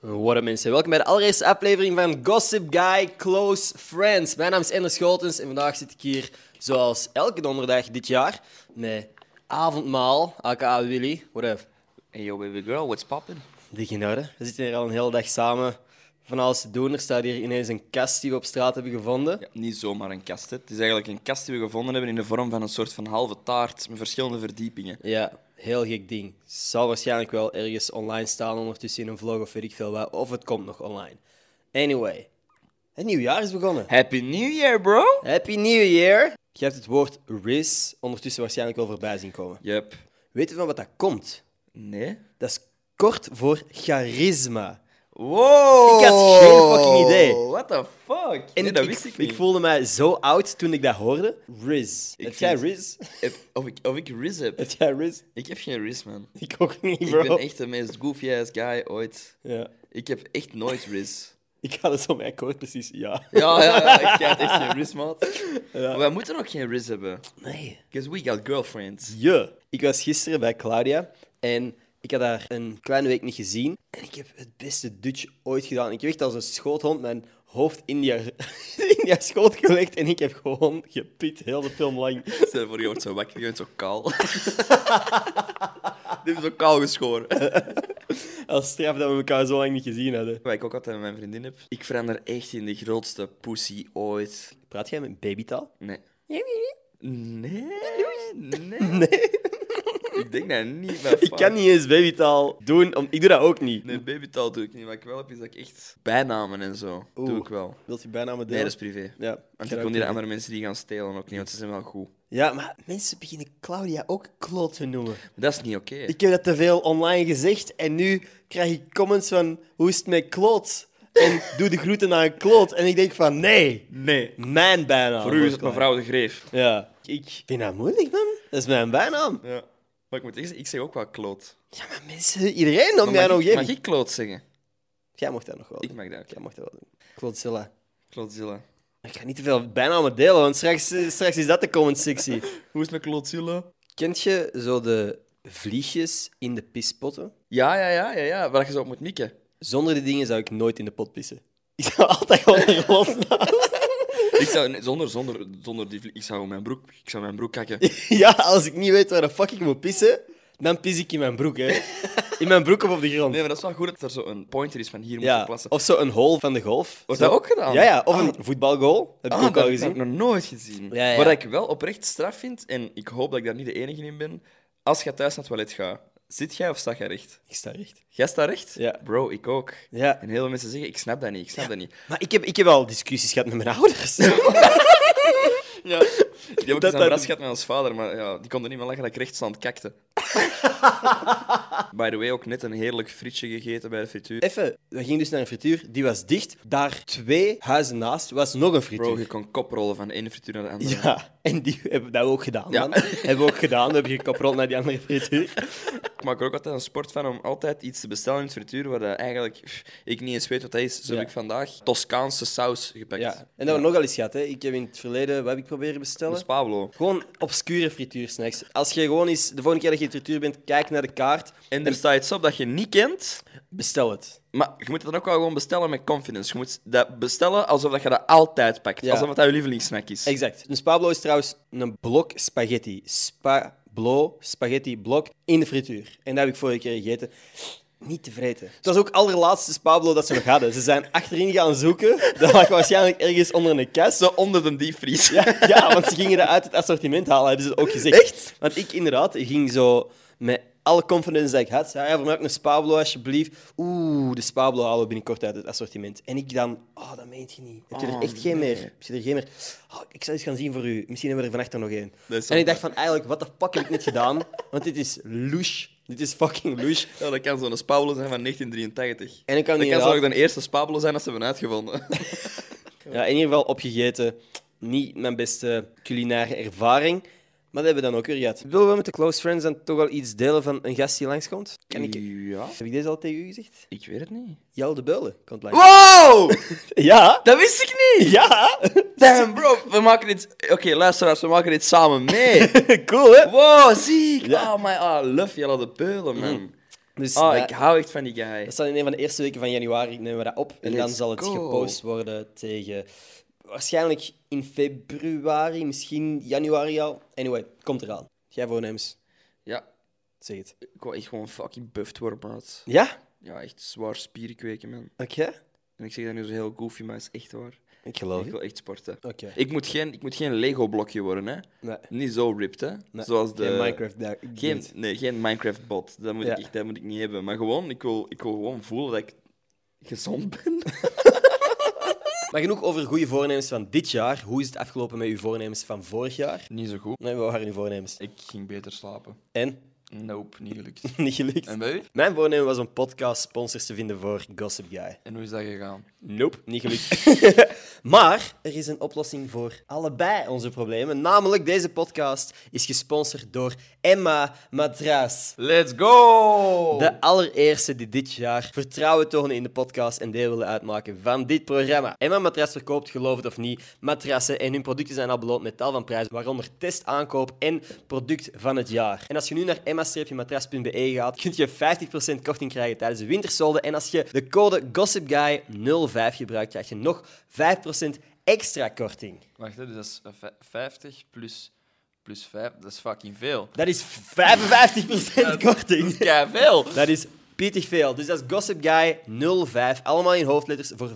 Wat Eh, mensen, welkom bij de allereerste aflevering van Gossip Guy Close Friends. Mijn naam is Ender Schotens en vandaag zit ik hier, zoals elke donderdag dit jaar, met Avondmaal, aka Willy, whatever. Hey yo baby girl, what's poppin'? Dik in orde. We zitten hier al een hele dag samen van alles te doen. Er staat hier ineens een kast die we op straat hebben gevonden. Ja, niet zomaar een kast. Hè. Het is eigenlijk een kast die we gevonden hebben in de vorm van een soort van halve taart met verschillende verdiepingen. Ja, heel gek ding. Zal waarschijnlijk wel ergens online staan ondertussen in een vlog of weet ik veel wat. Of het komt nog online. Anyway, het nieuwjaar is begonnen. Happy New Year, bro! Happy New Year! Je hebt het woord RIS ondertussen waarschijnlijk wel voorbij zien komen. Yep. Weet je van wat dat komt? Nee? Dat is kort voor charisma. Wow! Ik had geen fucking idee. What the fuck? En nee, dat wist ik, niet. Ik voelde mij zo oud toen ik dat hoorde. RIS. Ik heb jij vind- RIS? Heb- Of ik, of ik Riz heb. heb jij RIS? Ik heb geen Riz, man. Ik ook niet, Ik bro. ben echt de meest goofy-ass guy ooit. Ja. Ik... Ik heb echt nooit Riz. had het zo mee akkoord, precies. Ja. Ja, ja, ja, ik had echt geen Riz, maat. Maar wij moeten ook geen Riz hebben. Nee. Because we got girlfriends. Je. Ik was gisteren bij Claudia en ik had haar een kleine week niet gezien. En ik heb het beste Dutch ooit gedaan. Ik heb echt als een schoothond mijn hoofd in die, in die schoot gelegd en ik heb gewoon gepiet heel de film lang. Stel je voor, je wordt zo wakker, je bent zo kaal. Die is zo kaal geschoren. Als straf dat we elkaar zo lang niet gezien hadden. Wat ik ook altijd met mijn vriendin heb. Ik verander echt in de grootste pussy ooit. Praat jij met babytaal? Nee. Nee. Nee. Nee. Ik denk dat niet, maar Ik kan niet eens babytaal doen, om... ik doe dat ook niet. Nee, babytaal doe ik niet. Wat ik wel heb, is dat ik echt bijnamen en zo. Doe Oeh. ik wel. Wilt je bijna met Nee, dat is privé. Ja, Want ga dat ik kon ook die doen. andere mensen die gaan stelen ook niet, want ze zijn wel goed. Ja, maar mensen beginnen Claudia ook kloot te noemen. Dat is niet oké. Ik heb dat te veel online gezegd en nu krijg ik comments van hoe is het met kloot? En doe de groeten naar een kloot. En ik denk van nee, Nee. mijn bijnaam. Voor u is het wordt mevrouw de Greef. klein. Ja. Ik vind dat moeilijk, man. Dat is mijn bijnaam. Ja. Maar ik moet echt zeggen, ik zeg ook wel kloot. Ja, maar mensen, iedereen Maar noemt mij mag nog ik- Mag even. ik kloot zeggen? Jij mocht dat nog wel Ik doen. mag dat ook. Jij mocht dat wel doen. Klootzilla. Klootzilla. Ik ga niet te veel bijnamen delen, want straks, straks is dat de comment sectie. Hoe is het met Klootzilla? Kent je zo de vliegjes in de pispotten? Ja, ja, ja, ja, ja. Waar je zo op moet mikken. Zonder die dingen zou ik nooit in de pot pissen. Ik zou altijd gewoon er los Ik zou, nee, zonder, zonder, zonder die, vlie- ik zou mijn broek, ik zou mijn broek kakken. Ja, als ik niet weet waar de fuck ik moet pissen, dan pis ik in mijn broek, hè. In mijn broek of op de grond. Nee, maar dat is wel goed dat er zo een pointer is van hier moet je ja. Oh, plassen. Of zo een hole van de golf. Wordt Zo- dat ook gedaan? Ja, ja. Of een voetbalgoal. Heb ik Ah, ook dat al heb ik gezien. nog nooit gezien. Ja, ja. Wat ik wel oprecht straf vind, en ik hoop dat ik daar niet de enige in ben, als je thuis naar het toilet gaat, zit jij of sta jij recht? Ik sta recht. Jij staat recht? Ja. Bro, ik ook. Ja. En heel veel mensen zeggen, ik snap dat niet, ik snap dat niet. Maar ik heb, ik heb al discussies gehad met mijn ouders. Ja. Ik heb ook Dat eens dat- een ras gehad met ons vader, maar ja, die kon er niet meer lachen dat ik rechtstand kakte. By the way, ook net een heerlijk frietje gegeten bij de frituur. Even, we gingen dus naar een frituur, die was dicht. Daar twee huizen naast was nog een frituur. Bro, je kon koprollen van de ene frituur naar de andere. Ja, en die hebben dat ook gedaan, Ja. man. Hebben we ook gedaan. We hebben gekaprold naar die andere frituur. Ik maak er ook altijd een sport van om altijd iets te bestellen in het frituur waar dat eigenlijk pff, ik niet eens weet wat dat is. Zo Ja. heb ik vandaag Toscaanse saus gepakt. Ja. En dat we nogal eens gehad, hè. Ik heb in het verleden, wat heb ik proberen bestellen? Dus Pablo. Gewoon obscure frituursnacks. Als je gewoon eens de volgende keer dat je in frituur bent, kijk naar de kaart, En er staat iets op dat je niet kent, bestel het. maar je moet het dan ook wel gewoon bestellen met confidence. Je moet dat bestellen alsof dat je dat altijd pakt. Ja. Alsof dat je lievelingssnack is. Exact. Een spablo is trouwens een blok spaghetti. Spablo, spaghetti blok in de frituur. En dat heb ik vorige keer gegeten. Niet te vreten. Het was ook allerlaatste spablo dat ze nog hadden. Ze zijn achterin gaan zoeken. Dat lag waarschijnlijk ergens onder een kast. Zo onder de diepvries. Ja, ja, want ze gingen dat uit het assortiment halen, hebben ze ook gezegd. Echt? Want ik inderdaad ging zo met alle confidence dat ik had, zei, ja, voor mij ook een Spablo alsjeblieft. Oeh, de Spablo halen we binnenkort uit het assortiment. En ik dan, oh, dat meent je niet. Heb je er Oh, echt geen nee. meer? Heb je er geen meer? Oh, ik zal eens gaan zien voor u. Misschien hebben we er vannacht nog één. Dat is En ik wel- dacht van, eigenlijk, wat de fuck heb ik net gedaan? Want dit is louche. Dit is fucking louche. Ja, dat kan zo'n Spablo zijn van 1983. En ik kan Dat niet kan zo ook de eerste Spablo zijn dat ze hebben uitgevonden. Ja, in ieder geval opgegeten. Niet mijn beste culinaire ervaring. Maar dat hebben we dan ook weer gehad. Willen we met de close friends dan toch wel iets delen van een gast die langskomt? Kan ik... Ja, Heb ik deze al tegen u gezegd? ik weet het niet. Jel de Beulen komt langs. Wow! Ja? Dat wist ik niet! Ja? Damn, bro, we maken dit... Oké, luisteraars, we maken dit samen mee. cool, hè? Wow, ziek! Ja. Oh my, ah, love, Jelle de Beulen, man. Dus Oh, wij- ik hou echt van die guy. dat staat in een van de eerste weken van januari, nemen we dat op. En dan Let's zal het go. gepost worden tegen... Waarschijnlijk in februari, misschien januari al. Anyway, komt eraan. Jij voornemens, Ja, zeg het. ik wou echt gewoon fucking buffed worden, maat. Ja? Ja, echt zwaar spieren kweken, man. Oké. En ik zeg dat nu zo heel goofy, maar het is echt waar. Ik geloof Ik het. wil echt sporten. Oké. Ik moet geen, ik moet geen Lego-blokje worden, hè. Nee. Niet zo ripped, hè. Nee, Zoals de... geen Minecraft daar. Geen, nee, geen Minecraft-bot. Dat, moet Ja. ik echt- dat moet ik niet hebben. Maar gewoon, ik wil, ik wil gewoon voelen dat ik gezond ben. Maar genoeg over goede voornemens van dit jaar. Hoe is het afgelopen met uw voornemens van vorig jaar? Niet zo goed. Nee, wat waren uw voornemens? Ik ging beter slapen. En? Nope, niet gelukt. Niet gelukt. bij u? Mijn voornemen was om podcast sponsors te vinden voor Gossip Guy. En hoe is dat gegaan? Nope, niet gelukt. maar er is een oplossing voor allebei onze problemen. Namelijk, deze podcast is gesponsord door Emma Matras. Let's go! De allereerste die dit jaar vertrouwen tonen in de podcast en deel willen uitmaken van dit programma. Emma Matras verkoopt, geloof het of niet, matrassen en hun producten zijn al beloond met tal van prijzen, waaronder test, aankoop en product van het jaar. En als je nu naar emma-matras.be gaat, kun je 50% korting krijgen tijdens de wintersolden. En als je de code GossipGuy05 gebruikt, krijg je nog 5% extra korting. Wacht, hè, dus dat is eh, vij- 50 plus, plus 5, dat is fucking veel. Dat is 55% korting. Ja, veel! Dat is pietig veel. Dus dat is Gossip Guy 05. Allemaal in hoofdletters voor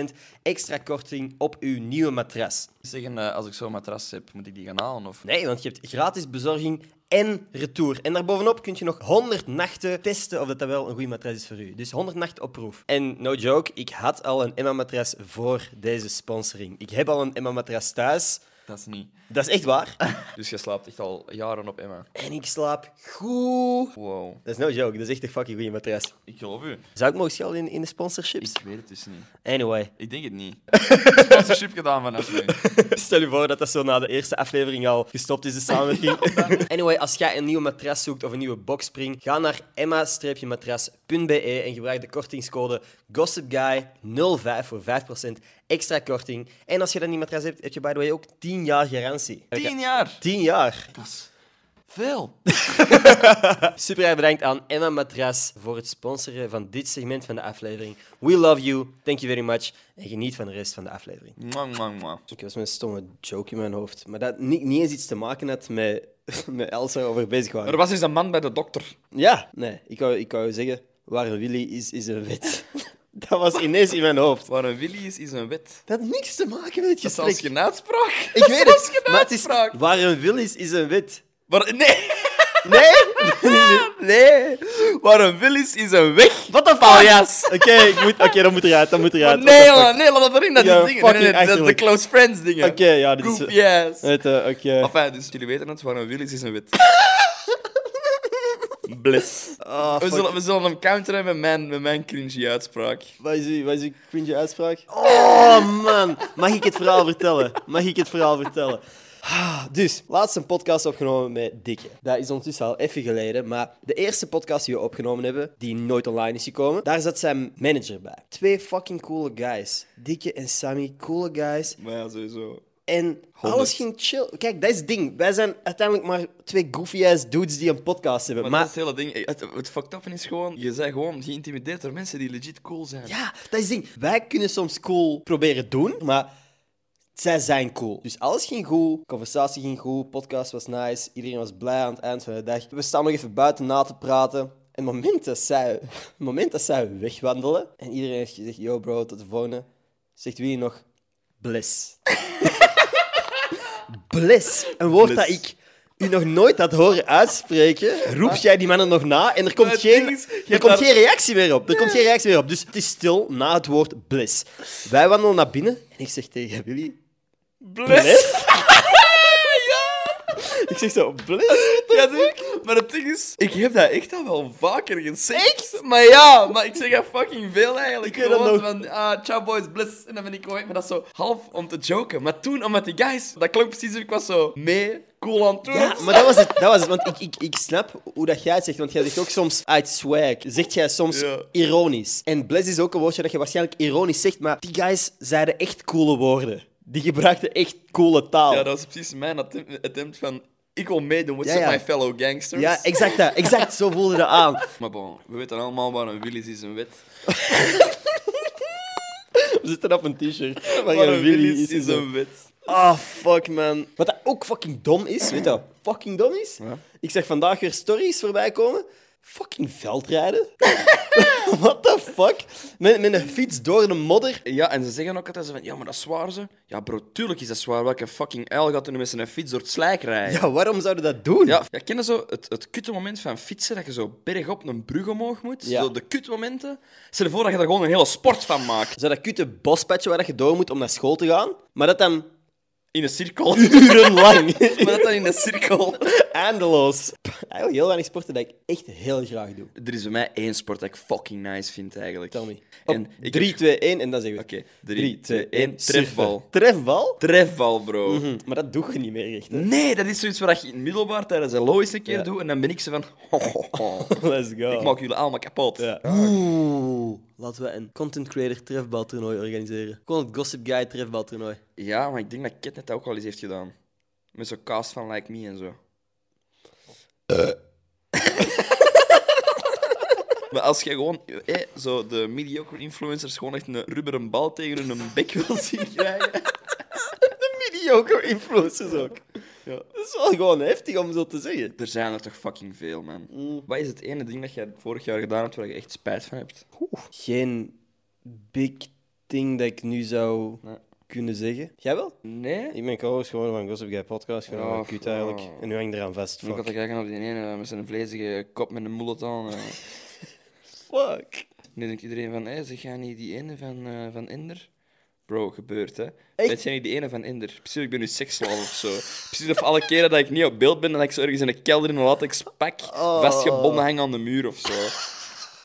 5% extra korting op uw nieuwe matras. Zeggen, eh, als ik zo'n matras heb, moet ik die gaan halen? Of... Nee, want je hebt gratis bezorging en retour. En daarbovenop kun je nog 100 nachten testen of dat, dat wel een goede matras is voor u. Dus 100 nachten op proef. En no joke, ik had al een Emma-matras voor deze sponsoring. Ik heb al een Emma-matras thuis. Dat is niet. Dat is echt waar. Dus je slaapt echt al jaren op Emma. En ik slaap goed. Wow. Dat is no joke, dat is echt een fucking goede matras. Ik geloof u. Zou ik mogen schelden in, in de sponsorships? Ik weet het dus niet. Anyway. Ik denk het niet. Sponsorship gedaan vanaf nu. Stel je voor dat dat zo na de eerste aflevering al gestopt is, de samenwerking. anyway, als jij een nieuwe matras zoekt of een nieuwe boxspring, ga naar emma-matras.be en gebruik de kortingscode GossipGuy05 voor 5% extra korting. En als je dan die matras hebt, heb je by the way ook 10 jaar garantie. 10 jaar! 10 jaar. Dat is veel. Super erg bedankt aan Emma Matras voor het sponsoren van dit segment van de aflevering. We love you. Thank you very much. En geniet van de rest van de aflevering. Mwah, mwah, mwah. Ik was met een stomme joke in mijn hoofd. Maar dat niet, niet eens iets te maken had met, met Elsa over bezig Er waren. was eens een man bij de dokter. Ja, nee. Ik wou, ik wou zeggen, waar een Willy is, is een wet. dat was ineens in mijn hoofd. Waar een willy is, is een wet. Dat had niks te maken met het Dat is als gesprek. geen uitspraak. Ik weet Zelfs het, geen maar het is uitspraak. waar een wil is, is een wet. Waar- nee, Nee? nee. Waar een wil is, is een weg. Wat een paljas. Oké, ik moet- oké, dat moet eruit, dat moet eruit. What nee, the fuck. jongen, nee, laat dat erin. Dat Ja, is dingen. Nee, nee, nee, fucking dat is de achterlijk. close friends dingen. Oké, ja, dit is... Goofy ass. Weet, eh, Oké. Enfin, dus jullie weten het, waar een wil is, is een wet. Bless. Ah, We fuck. zullen, we zullen hem counteren met mijn, met mijn cringy uitspraak. Wat is uw- wat is uw cringe uitspraak? Oh man, mag ik het verhaal vertellen? Mag ik het verhaal vertellen? Ah, Dus, laatst een podcast opgenomen met Dikke. Dat is ondertussen al even geleden, maar de eerste podcast die we opgenomen hebben, die nooit online is gekomen, daar zat zijn manager bij. Twee fucking coole guys. Dikke en Sammy, coole guys. Maar ja, sowieso. En alles Honderd. ging chill. Kijk, dat is het ding. Wij zijn uiteindelijk maar twee goofy-ass dudes die een podcast hebben. Maar, maar dat is het hele ding. Het, het fucked up is gewoon, je bent gewoon geïntimideerd door mensen die legit cool zijn. Ja, dat is het ding. Wij kunnen soms cool proberen doen, maar zij zijn cool. Dus alles ging goed, conversatie ging goed, podcast was nice, iedereen was blij aan het eind van de dag. We staan nog even buiten na te praten. En het moment dat zij, het moment dat zij wegwandelen en iedereen heeft gezegd, yo bro, tot de volgende, zegt wie nog, bless. bless, een woord Bless. dat ik u nog nooit had horen uitspreken, roep jij die mannen nog na en er komt het geen, ding is, je er hebt komt daar- geen reactie meer op. Er komt geen reactie meer op. Dus het is stil na het woord bliss. Wij wandelen naar binnen en ik zeg tegen Willy... Bless. Bliss? Ik zeg zo, bliss? Ja, natuurlijk. Maar het ding is, ik heb dat echt al wel vaker gezegd. Maar ja, maar ik zeg dat fucking veel eigenlijk. Ik weet dat Gewoon nog. van, ah, ciao boys, bless. En dan ben ik gewoon, maar dat is zo half om te joken. Maar toen, omdat die guys, dat klonk precies, ik was zo mee, cool aan het doen. Ja, maar dat was het. Dat was het want ik, ik, ik snap hoe dat jij het zegt. Want jij zegt ook soms uit swag. Zegt jij soms Ja. ironisch. En bless is ook een woordje dat je waarschijnlijk ironisch zegt. Maar die guys zeiden echt coole woorden. Die gebruikten echt coole taal. Ja, dat was precies mijn attempt, attempt van, ik wil meedoen, what's Ja, up ja. my fellow gangsters? Ja, exact dat. Exact zo voelde dat aan. Maar bon, we weten allemaal waar een wil is, is een wet. We zitten op een t-shirt. Waar een wil is, is een wet. Ah, fuck, man. Wat dat ook fucking dom is, weet je wat fucking dom is? Ik zag vandaag weer stories voorbij komen. Fucking veldrijden. What the fuck? Met, met een fiets door de modder. Ja, en ze zeggen ook altijd zo van, ja, maar dat is zwaar, ze. Ja, bro, tuurlijk is dat zwaar. Welke fucking uil gaat er nu met zijn fiets door het slijk rijden? Ja, waarom zouden dat doen? Ja, ja ken je zo het, het kutte moment van fietsen, dat je zo bergop een brug omhoog moet? Ja. Zo de kutte momenten. Stel je voor dat je er gewoon een hele sport van maakt. Zo dat kutte bospadje waar dat je door moet om naar school te gaan. Maar dat dan In een cirkel. urenlang. maar dat dan in een cirkel. Eindeloos. Eigenlijk heel weinig sporten dat ik echt heel graag doe. Er is bij mij één sport dat ik fucking nice vind, eigenlijk. Tell me. En Op ik 3, heb- 2, 1 en dan zeggen we. Oké, 3, Drie, 2, twee, 1, één, trefbal. surfen. Trefbal? Trefbal, bro. Hm, maar dat doe je niet meer echt. Hè? Nee, dat is zoiets wat je in het middelbaar tijdens de low eens een keer Ja. doet. En dan ben ik zo van... ho, ho, ho. Let's go. Ik maak jullie allemaal kapot. Ja. Oeh, laten we een content creator trefbaltoernooi organiseren. Gewoon het Gossip Guy trefbaltoernooi. Ja, maar ik denk dat Ket net ook al eens heeft gedaan. Met zo'n cast van Like Me en zo. Eh. maar als je gewoon eh, zo de mediocre influencers gewoon echt een rubberen bal tegen hun bek wil zien krijgen. Mediocre influencers ook. Dat is wel gewoon heftig om zo te zeggen. Er zijn er toch fucking veel, man. Wat is het ene ding dat jij vorig jaar gedaan hebt waar je echt spijt van hebt? Geen big thing dat ik nu zou Nee. kunnen zeggen. Jij wel? Nee? Ik ben co geworden van Gossip Guy podcast. Gewoon Oh, oh, kut eigenlijk. oh. En nu hang ik eraan vast. Ik had te Fuck. kijken naar die ene eh, met zijn vlezige kop met een mullet aan. eh. Fuck. Nu denkt iedereen van, hé, zeg jij niet die ene van, eh, van Inder? Bro, gebeurt hè. Echt? Ben jij niet die ene van Inder? Precies, ik ben nu seksslaaf of zo. Precies of alle keren dat ik niet op beeld ben en dat ik zo ergens in een kelder in een latex pak Oh. vastgebonden hang aan de muur of zo.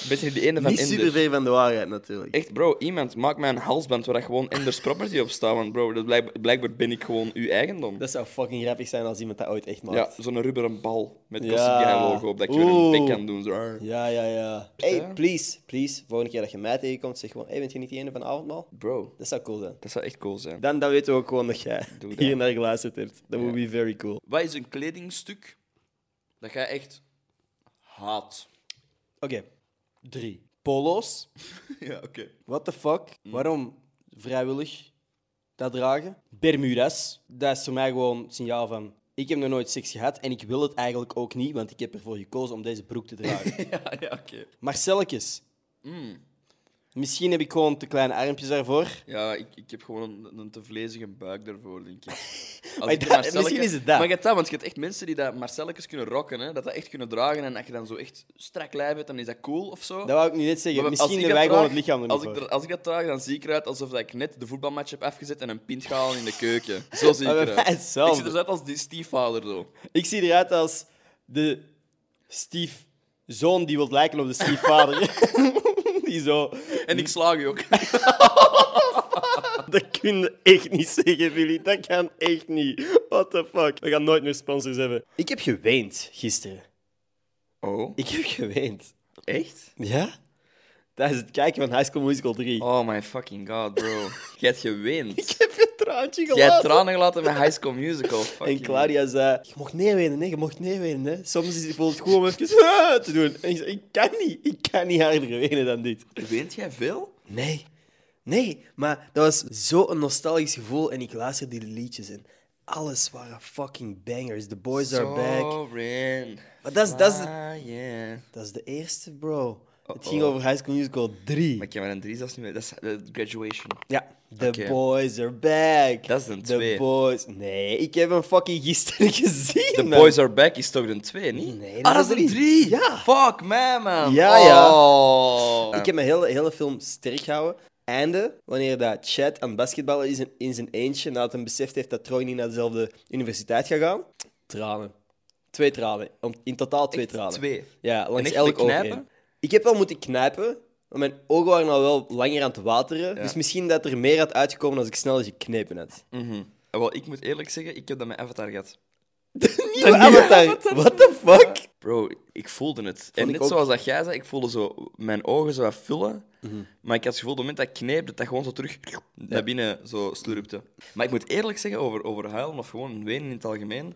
Ben je niet die ene van Niet Inder? super ver van de waarheid natuurlijk. Echt, bro, iemand, maak mij een halsband waar dat gewoon Inders property op staat. Want bro, dat blijk- blijkbaar ben ik gewoon uw eigendom. Dat zou fucking grappig zijn als iemand dat ooit echt Ja, maakt. zo'n rubberen bal met Ja. Gossip Guy logo op dat ik weer een Oeh. pik kan doen. Zo. Ja, ja, ja. hè? Hey, please, please. Volgende keer dat je mij tegenkomt, zeg gewoon: hey, bent je niet die ene van avondmaal? Bro, Dat zou cool zijn. dat zou echt cool zijn. Dan, dan weten we ook gewoon dat jij Doe dat. hier naar geluisterd hebt. Dat would be very cool. Wat is een kledingstuk dat jij echt haat? Oké. Drie. Polo's. Ja, oké. What the fuck? Waarom vrijwillig dat dragen? Bermudas. Dat is voor mij gewoon het signaal van... Ik heb nog nooit seks gehad en ik wil het eigenlijk ook niet, want ik heb ervoor gekozen om deze broek te dragen. ja, ja, oké. Marcelletjes. Mm. Misschien heb ik gewoon te kleine armpjes daarvoor. Ja, ik, ik heb gewoon een, een te vlezige buik daarvoor, denk ik. Als Maar ik dat- een Marcelleke- misschien is het dat. Maar je hebt dat, want je hebt echt mensen die dat Marcelletjes kunnen rocken, hè, dat dat echt kunnen dragen. En als je dan zo echt strak lijf hebt, dan is dat cool of zo. Dat wou ik nu net zeggen. Maar als Misschien ik dat hebben wij gewoon het draag- lichaam er niet als ik, voor. er- als ik dat draag, dan zie ik eruit alsof dat ik net de voetbalmatch heb afgezet en een pint gehaald in de keuken. Zo zie ik Maar bij mij eruit. Ik hetzelfde. zie eruit als die stiefvader, zo. Ik zie eruit als de stiefzoon die wil lijken op de stiefvader. die zo... En ik slaag je ook. Dat kun je echt niet zeggen, Willy. Dat kan echt niet. What the fuck? We gaan nooit meer sponsors hebben. Ik heb geweend gisteren. Oh, Ik heb geweend. echt? Ja? Tijdens het kijken van High School Musical 3. Oh my fucking god, bro. Jij hebt geweend. Ik heb een traantje Jij hebt gelaten. tranen gelaten met High School Musical. Fucking en Claudia zei, je mocht neerwenen, hè. Je mocht neerwenen, hè. Soms is het voelt het goed om even "Ah", te doen. En ik zei, ik kan niet. Ik kan niet harder wenen dan dit. Weent jij veel? Nee. Nee, maar dat was zo'n nostalgisch gevoel. En ik luisterde die liedjes en alles waren fucking bangers. The boys are back. Soarin', Maar dat is- dat is- Ah, flying. Dat is de eerste, bro. Het Uh-oh. ging over High School Musical 3. Maar ik heb maar een drie zelfs niet meer. Dat is eh, graduation. Ja. The Oké. boys are back. Dat is een The twee. boys... Nee, ik heb hem fucking gisteren gezien. The man. Boys Are Back is toch een twee, niet? Nee, dat ah, dat is is een drie. drie. Ja. Fuck man, man. Ja, ja. Oh. Ik heb mijn hele, hele film sterk gehouden. Einde, wanneer dat Chad aan het basketballen is in, in zijn eentje, nadat hij beseft heeft dat Troy niet naar dezelfde universiteit gaat gaan. Tranen. Twee tranen. Om- In totaal twee Echt? tranen. Twee? Ja, En langs echt elk oog knijpen? één. Ik heb wel moeten knijpen, maar mijn ogen waren al wel langer aan het wateren. Ja. Dus misschien dat er meer had uitgekomen als ik snel geknepen had. Mhm. Eh, Wel, ik moet eerlijk zeggen, ik heb dat met Avatar gehad. De nieuwe avatar. What the fuck? Bro, ik voelde het. en ik net ook. zoals dat jij zei, ik voelde zo mijn ogen zo wat vullen. Mhm. Maar ik had het gevoel, op het moment dat ik kneep, dat dat gewoon zo terug naar binnen zo slurpte. Maar ik moet eerlijk zeggen, over, over huilen of gewoon wenen in het algemeen.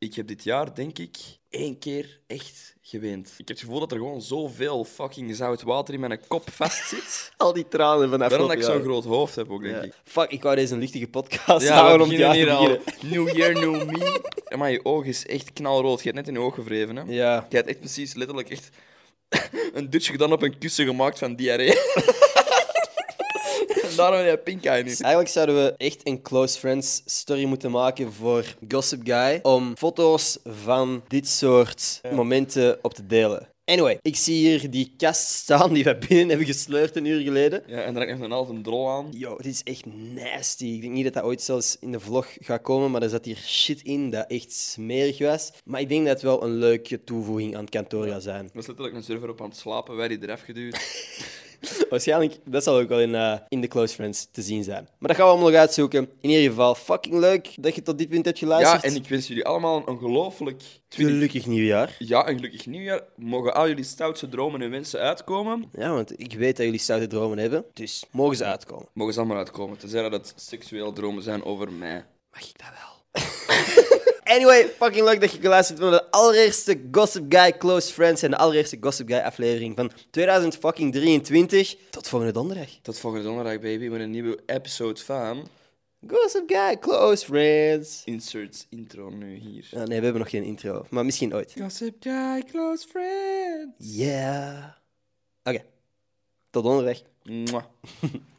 Ik heb dit jaar, denk ik, één keer echt geweend. Ik heb het gevoel dat er gewoon zoveel fucking zout water in mijn kop vastzit. Al die tranen van Daarom afgelopen dat ik zo'n jaar. groot hoofd heb ook, denk Ja. ik. Fuck, ik wou deze een lichtige podcast Ja, houden we om het beginnen jaar te hier al. beginnen. New year, new me. Maar je oog is echt knalrood. Je hebt net in je oog gevreven, hè? Ja. Je hebt echt precies letterlijk echt een dutje gedaan op een kussen gemaakt van diarree. En Daarom heb je pink eye nu. Eigenlijk zouden we echt een close friends story moeten maken voor Gossip Guy om foto's van dit soort momenten op te delen. Anyway, ik zie hier die kast staan die we binnen hebben gesleurd een uur geleden. Ja, en daar heb ik nog een halve drol aan. Yo, dit is echt nasty. Ik denk niet dat dat ooit zelfs in de vlog gaat komen, maar er zat hier shit in dat echt smerig was. Maar ik denk dat het wel een leuke toevoeging aan het kantoor gaat zijn. Er was letterlijk een server op aan het slapen, wij die eraf geduwd. Waarschijnlijk, dat zal ook wel in, eh, in de Close Friends te zien zijn. Maar dat gaan we allemaal nog uitzoeken. In ieder geval, fucking leuk dat je tot dit punt hebt Ja, geluisterd. en ik wens jullie allemaal een ongelooflijk 20... Gelukkig nieuwjaar. Ja, een gelukkig nieuwjaar. Mogen al jullie stoutste dromen en wensen uitkomen. Ja, want ik weet dat jullie stoute dromen hebben, dus mogen ze uitkomen. Mogen ze allemaal uitkomen, tenzij dat het seksueel dromen zijn over mij. Mag ik dat wel? anyway, fucking leuk dat je geluisterd hebt naar de allereerste Gossip Guy Close Friends en de allereerste Gossip Guy aflevering van 2023. Tot volgende donderdag. Tot volgende donderdag, baby, met een nieuwe episode van... Gossip Guy Close Friends. Insert intro nu hier. Ah, nee, we hebben nog geen intro, maar misschien ooit. Gossip Guy, close friend. Yeah. Oké, tot donderdag. Mwah.